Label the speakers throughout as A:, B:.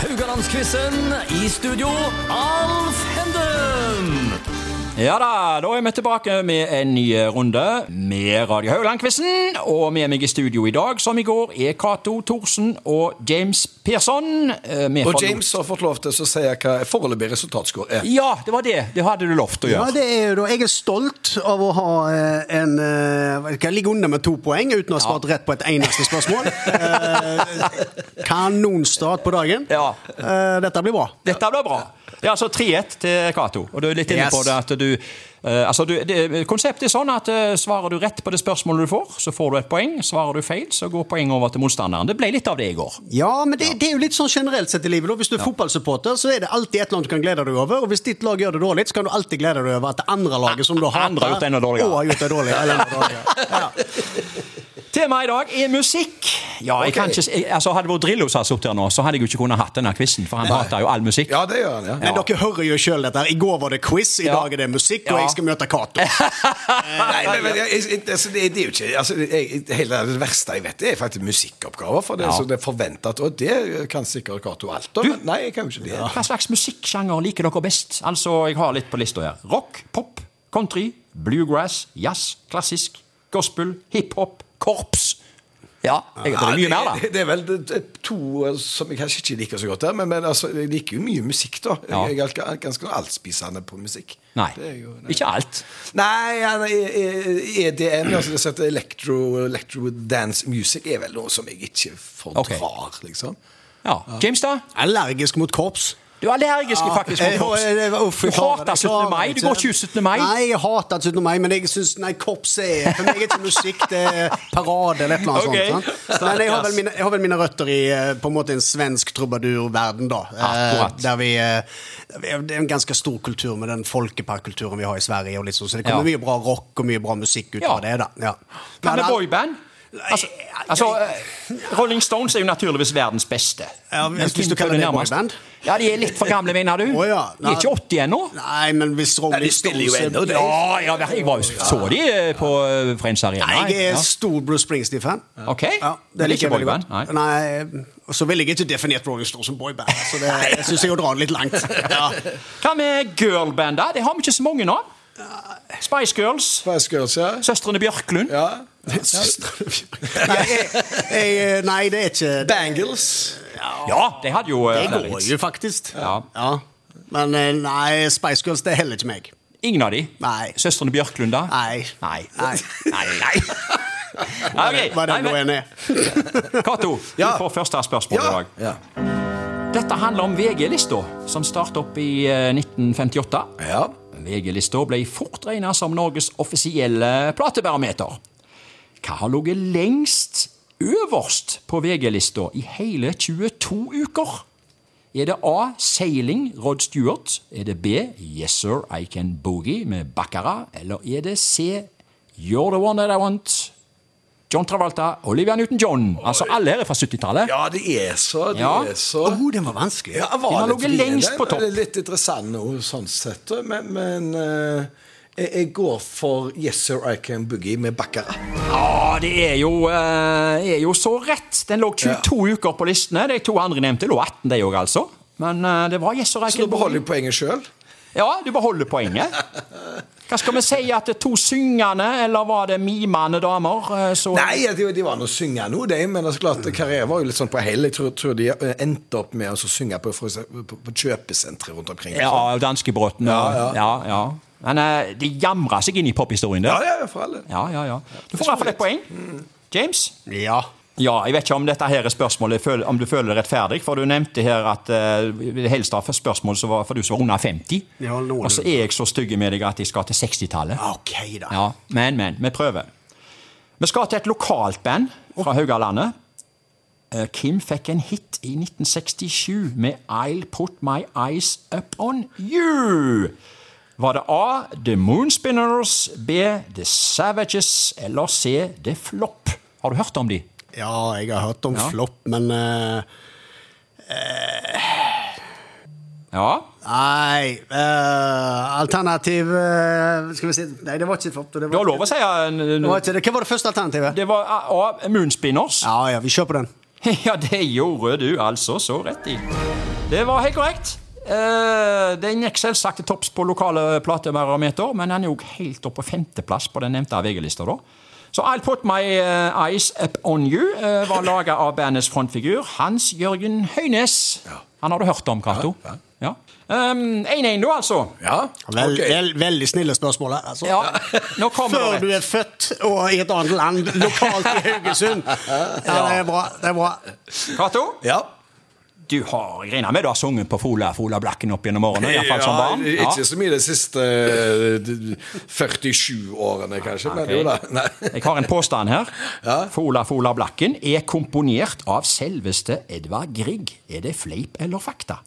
A: Haugalandsquizen. I studio, Alf Henden.
B: Ja da, da er vi tilbake med en ny runde med Radio Haugland-quizen. Og med meg i studio i dag, som i går, er Cato Thorsen og James Persson. Eh, vi
C: Og
B: forlot-
C: James har fått lov til å si hva foreløpig resultatscore er.
B: Ja, det var det. Det hadde du lovt å
D: Ja,
B: gjøre.
D: det er jo da. Jeg er stolt av å ha eh, en eh, Jeg ligger under med to poeng uten å ha svart rett på et eneste spørsmål. Eh, Kanonstart på dagen.
B: Ja.
D: Eh, Dette blir bra.
B: Dette ble bra. Ja, altså 3-1 til Cato. Og du er litt inne på
D: Yes.
B: det at du eh, Altså, du, det, konseptet er sånn at eh, svarer du rett på det spørsmålet du får, så får du et poeng. Svarer du feil, så går poenget over til motstanderen. Det ble litt av det i går.
D: Ja, men det, det er jo litt sånn generelt sett i livet. da. Hvis du er fotballsupporter, så er det alltid et eller annet du kan glede deg over. Og hvis ditt lag gjør det dårlig, så kan du alltid glede deg over at det andre laget som du hater,
B: Ah, Andre har gjort det enda dårligere.
D: også har gjort det dårligere. Eller enda dårligere. Ja.
B: Temaet i dag er musikk. Ja, jeg kan ikke, jeg, altså Hadde vår Drillo satt opp der nå, så hadde jeg jo ikke kunnet hatt denne quizen, for han hater jo all musikk.
C: Ja, det gjør han, ja.
D: Men dere hører jo sjøl dette. her. I går var det quiz, i
B: Ja.
D: dag er det musikk,
B: Ja.
D: og jeg skal møte Cato.
C: Nei, men, men, jeg, jeg- altså, det, det er jo ikke altså, jeg, Hele det verste jeg vet, det er faktisk musikkoppgaver. For det,
B: Ja.
C: så det er forventet, og det kan sikkert Cato alt om. men Nei, jeg kan jo ikke det.
B: Hva slags musikksjanger liker dere best? Altså, jeg har litt på lista her. Rock, pop, country, bluegrass, jazz, klassisk, gospel, hiphop, korps. Ja, jeg vet det er mye mer, da.
C: Det, det er vel det, det, er to eh, som jeg kanskje ikke liker så godt, der, men, men altså, jeg liker jo mye musikk, da.
B: Ja.
C: Jeg er ganske- ganske allspisende på musikk.
B: Nei,
C: Det er jo,
B: ikke alt.
C: Nei, ja, nei, eh, EDM, altså det som heter electro, electro dance music, er vel noe som jeg ikke
B: Ok.
C: fordrar, liksom.
B: Ja. James, da?
D: Allergisk mot korps.
B: Du er allergisk faktisk mot
D: Eh, og,
B: korps.
D: eh, det var- uff,
B: Du
D: jeg klarer det,
B: hater
D: jeg klarer
B: 17. mai.
D: det
B: Du går ikke ut 17. mai.
D: Nei, jeg hater 17. mai, men jeg syns Nei, korps er For meg er ikke musikk, det er parade eller et eller annet
B: Ok.
D: sånt. Sant? Men jeg har, vel mine, jeg har vel mine røtter i eh, på en måte en svensk trubadurverden, da. Eh,
B: Akkurat.
D: Der vi, eh, vi er- Det er en ganske stor kultur med den folkeparkkulturen vi har i Sverige, og litt sånn, så det kommer
B: Ja.
D: mye bra rock og mye bra musikk ut
B: Ja.
D: av det, da. Ja.
B: Hva med
D: Men-
B: boyband? Altså, altså, eh, Rolling Stones er jo naturligvis verdens beste.
D: Ja, hvis-
B: Men
D: hvis du
B: hvem
D: kaller
B: er
D: det
B: nærmest?
D: boyband?
B: Ja, de er litt for gamle, mener du?
D: Å ja.
B: De er ikke 80 ennå?
D: Nei, men hvis Rolling
C: Nei, de spiller jo
D: Stones er-
C: ennå, det.
B: Ja, ja, jeg var, jo- så de eh, på eh, Friends Arena.
D: Nei, jeg er
B: Ja.
D: stor Bruce Springsteen-fan.
B: Ok.
D: Ja,
B: Men
D: det liker jeg
B: ikke
D: veldig godt.
B: boyband,
D: Nei. og så ville jeg ikke definert Rolling Stones som boyband. Så det, jeg syns jeg drar det litt langt. Ja.
B: Hva med girlband, da? Det har vi ikke så mange av. Spice Girls,
C: Spice Girls, ja.
B: Søstrene Bjørklund.
C: ja.
D: Nei, jeg, jeg, nei, det er ikke det,
C: Bangles.
B: Ja, de hadde jo eh,
D: det
B: flere
D: går
B: hits.
D: jo faktisk.
B: Ja.
D: Men eh, nei, Spice Girls det er heller ikke meg.
B: Ingen av de?
D: Nei.
B: Søstrene Bjørklund, da?
D: Nei.
B: Nei.
D: Nei.
B: Nei, nei. Nei, ok.
D: Hva er det
B: Nei,
D: nå
B: men-
D: enn er.
B: Cato,
C: Ja.
B: du får første spørsmål i
C: Ja.
B: dag.
C: ja.
B: Dette handler om VG-lista, som startet opp i eh, 1958.
C: Ja.
B: VG-lista ble fort regnet som Norges offisielle platebarometer. Hva har ligget lengst øverst på VG-lista i hele 22 uker? Er det A. Sailing, Rod Stewart? Er det B. Yes Sir, I Can Boogie med Baccara? Eller er det C. You're the One That I Want? John Travolta, Olivia Newton-John. Altså, alle her er fra 70-tallet.
C: ja, det er så. Det
B: Ja.
C: er så.
D: Å, den var vanskelig.
C: Ja,
B: Den har
C: var
B: ligget lengst på topp.
C: Det er litt interessant noe sånn sett, da, men, men eh, jeg, jeg går for Yes Sir I Can Boogie med Baccara.
B: Ja, Ah, det er jo, eh, er jo så rett. Den lå 22 uker på listene. De to andre nevnte lå 18, de òg, altså. Men eh, det var Yes og
C: Så da
B: Reiken.
C: beholder jeg poenget sjøl.
B: Ja, du beholder poenget. Hva skal vi si? At det er to syngende, eller var det mimende damer? eh, Så
C: Nei, de, de var nå synger nå, de, men altså, klart, karriere var jo litt sånn på hell. Jeg tror, tror de eh, endte opp med å så synge på, for eksempel på, på kjøpesentre rundt omkring.
B: Ja, danskebråten og
C: Ja, ja.
B: ja, ja. Men eh, de jamra seg inn i pophistorien
C: ja,
B: der.
C: ja, for alle.
B: Ja, ja, ja. Du får i hvert fall et poeng. James?
D: Ja.
B: Ja, jeg vet ikke om dette her er spørsmålet, føl- om du føler det rettferdig, for du nevnte her at eh, vi vil helst ha først spørsmål som var for du som var under 50.
D: Ja, noenlunde.
B: og så er jeg så stygg med deg at jeg skal til 60-tallet.
D: OK, da.
B: Ja, men, men. Vi prøver. Vi skal til et lokalt band fra Haugalandet. Eh, Kim fikk en hit i 1967 med I'll Put My Eyes Up On You. Var det A. The Moonspinners, B. The Savages eller C. The Flop? Har du hørt om de?
D: Ja, jeg har hørt om
B: Ja.
D: flopp, men eh,
B: Ja.
D: Nei eh, Alternativ eh, Skal vi si Nei, det var ikke flopp. Det
B: Du har
D: var,
B: lov å si eh,
D: det var ikke, det. Hva var det første alternativet?
B: Det var A. Moonspinners.
D: Ja, ja, vi kjører på den.
B: Ja, det gjorde du altså så rett i. Det var helt korrekt. Eh, den gikk selvsagt til topps på lokale platebarometer, men den er òg helt opp på femteplass på den nevnte VG-lista. da. Så I'll Put My eh, Eyes Up On You eh, var laga av bandets frontfigur Hans Jørgen Høines. Han har du hørt om, Cato? Ja. 1-1, da, altså.
C: Ja?
D: Vel,
C: ok.
D: vel, veldig snille spørsmål her. Altså.
B: Ja, nå kommer
D: Før
B: det
D: du
B: rett.
D: er født og i et annet land, lokalt i Haugesund. Ja, det er bra. Det er bra.
B: Cato,
C: ja.
B: du har jeg regner med du har sunget på Fola Fola Blakken opp gjennom årene? i hvert fall som barn.
C: Ja, Ikke så mye de siste eh, d- 47 årene, kanskje. Men
B: Ok.
C: jo da. Nei.
B: Jeg har en påstand her. Fola Fola Blakken er komponert av selveste Edvard Grieg. Er det fleip eller fakta?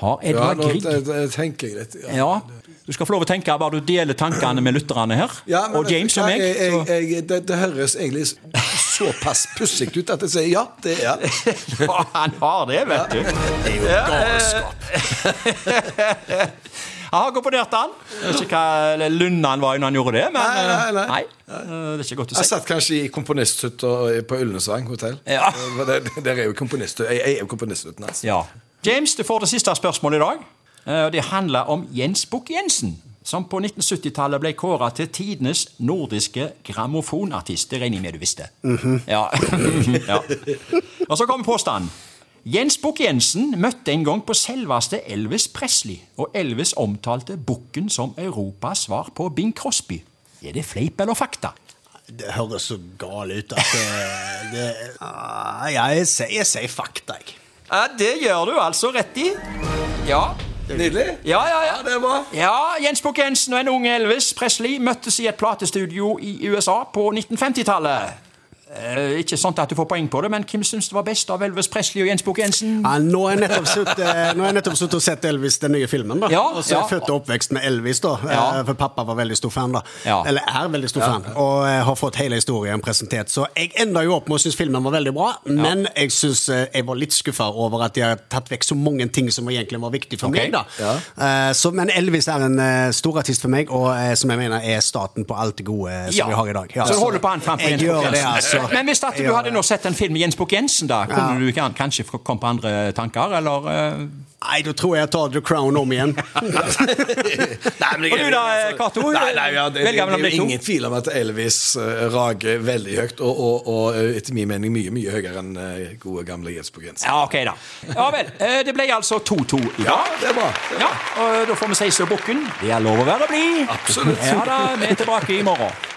B: Har
C: Ja,
B: Edvard
C: nå
B: Grieg
C: te- te- tenker jeg litt. Ja.
B: Ja. Du skal få lov å tenke bare du deler tankene med lytterne her.
C: Ja, men
B: og
C: vet du
B: James
C: hva?
B: og meg.
C: Jeg, jeg,
B: så-
C: jeg, det, det høres egentlig s- såpass pussig ut at jeg sier ja. det er ja.
B: Ja, han har det, vet du. Det er jo galskap. Han komponerte han. Jeg vet ikke hva lunde han var når han gjorde det, men
C: Nei, nei, nei.
B: eh, Det er ikke godt å
C: Jeg
B: si.
C: satt kanskje i komponisthytta på Ullensvang hotell.
B: Ja.
C: Eh, Der, der er jo komponisthytta. Jeg, jeg er jo komponisthytten hans.
B: Ja. James, du får det siste spørsmålet i dag. Eh, og Det handler om Jens Bukk-Jensen, som på 1970-tallet ble kåra til tidenes nordiske grammofonartist. Det regner jeg med du visste. ja. ja. Og så kommer påstanden. Jens Bukk-Jensen møtte en gang på selveste Elvis Presley, og Elvis omtalte Bukken som Europas svar på Bing Crosby. Er det fleip eller fakta?
D: Det høres så gal ut at det, det ah, Jeg sier- jeg sier fakta, jeg.
B: Ja, Det gjør du altså rett i. Ja,
C: Nydelig.
B: Ja, ja, ja.
C: Ja, det er bra.
B: Ja, Jens Bukk Jensen og en ung Elvis Presley møttes i et platestudio i USA på 1950-tallet. Eh, ikke sånn at du får poeng på det, men hvem syns det var best av Elvis Presley og Jens Bukk Jensen?
D: Ja, nå har jeg nettopp suttet- nå har jeg nettopp suttet og sett Elvis, den nye filmen. da
B: Ja,
D: Og så er
B: ja.
D: jeg født og oppvekst med Elvis, da
B: Ja.
D: eh, for pappa var veldig stor fan. da
B: Ja.
D: Eller er veldig stor fan, og eh, har fått hele historien presentert. Så jeg enda jo opp med å synes filmen var veldig bra, men jeg synes eh, jeg var litt skuffa over at de har tatt vekk så mange ting som egentlig var viktig for
B: Ok.
D: meg. da Eh, så, Men Elvis er en eh, stor artist for meg, og eh, som jeg mener er starten på alt det gode eh, som vi har i dag. Ja,
B: så du holder på han framfor
D: jeg
B: Jens Bukk
D: gjør det,
B: Jensen.
D: altså.
B: Men hvis at
D: Jeg
B: du
D: gjør
B: hadde
D: det.
B: nå sett en film med Jens Bukk Jensen, da, kunne du kan, kanskje få- komme på andre tanker, eller eh?
D: Nei, da tror jeg jeg tar The Crown om igjen.
C: Nei, men jeg-
B: Og du da, Cato?
C: Altså, Nei, nei, ja, det, det,
B: Velg mellom
C: det
B: de
C: er
B: to.
C: jo ingen tvil om at Elvis eh, rager veldig høyt, og, og, og eh, etter min mening mye mye høyere enn eh, gode, gamle Jens på grensen.
B: Ja, ok, da. Ja vel. eh, Det ble altså 2-2 i dag.
C: det er bra. Det er
B: Ja, og da får vi si så bukken. Det er lov å være blid.
C: Absolutt.
B: Ja da, vi er tilbake i morgen.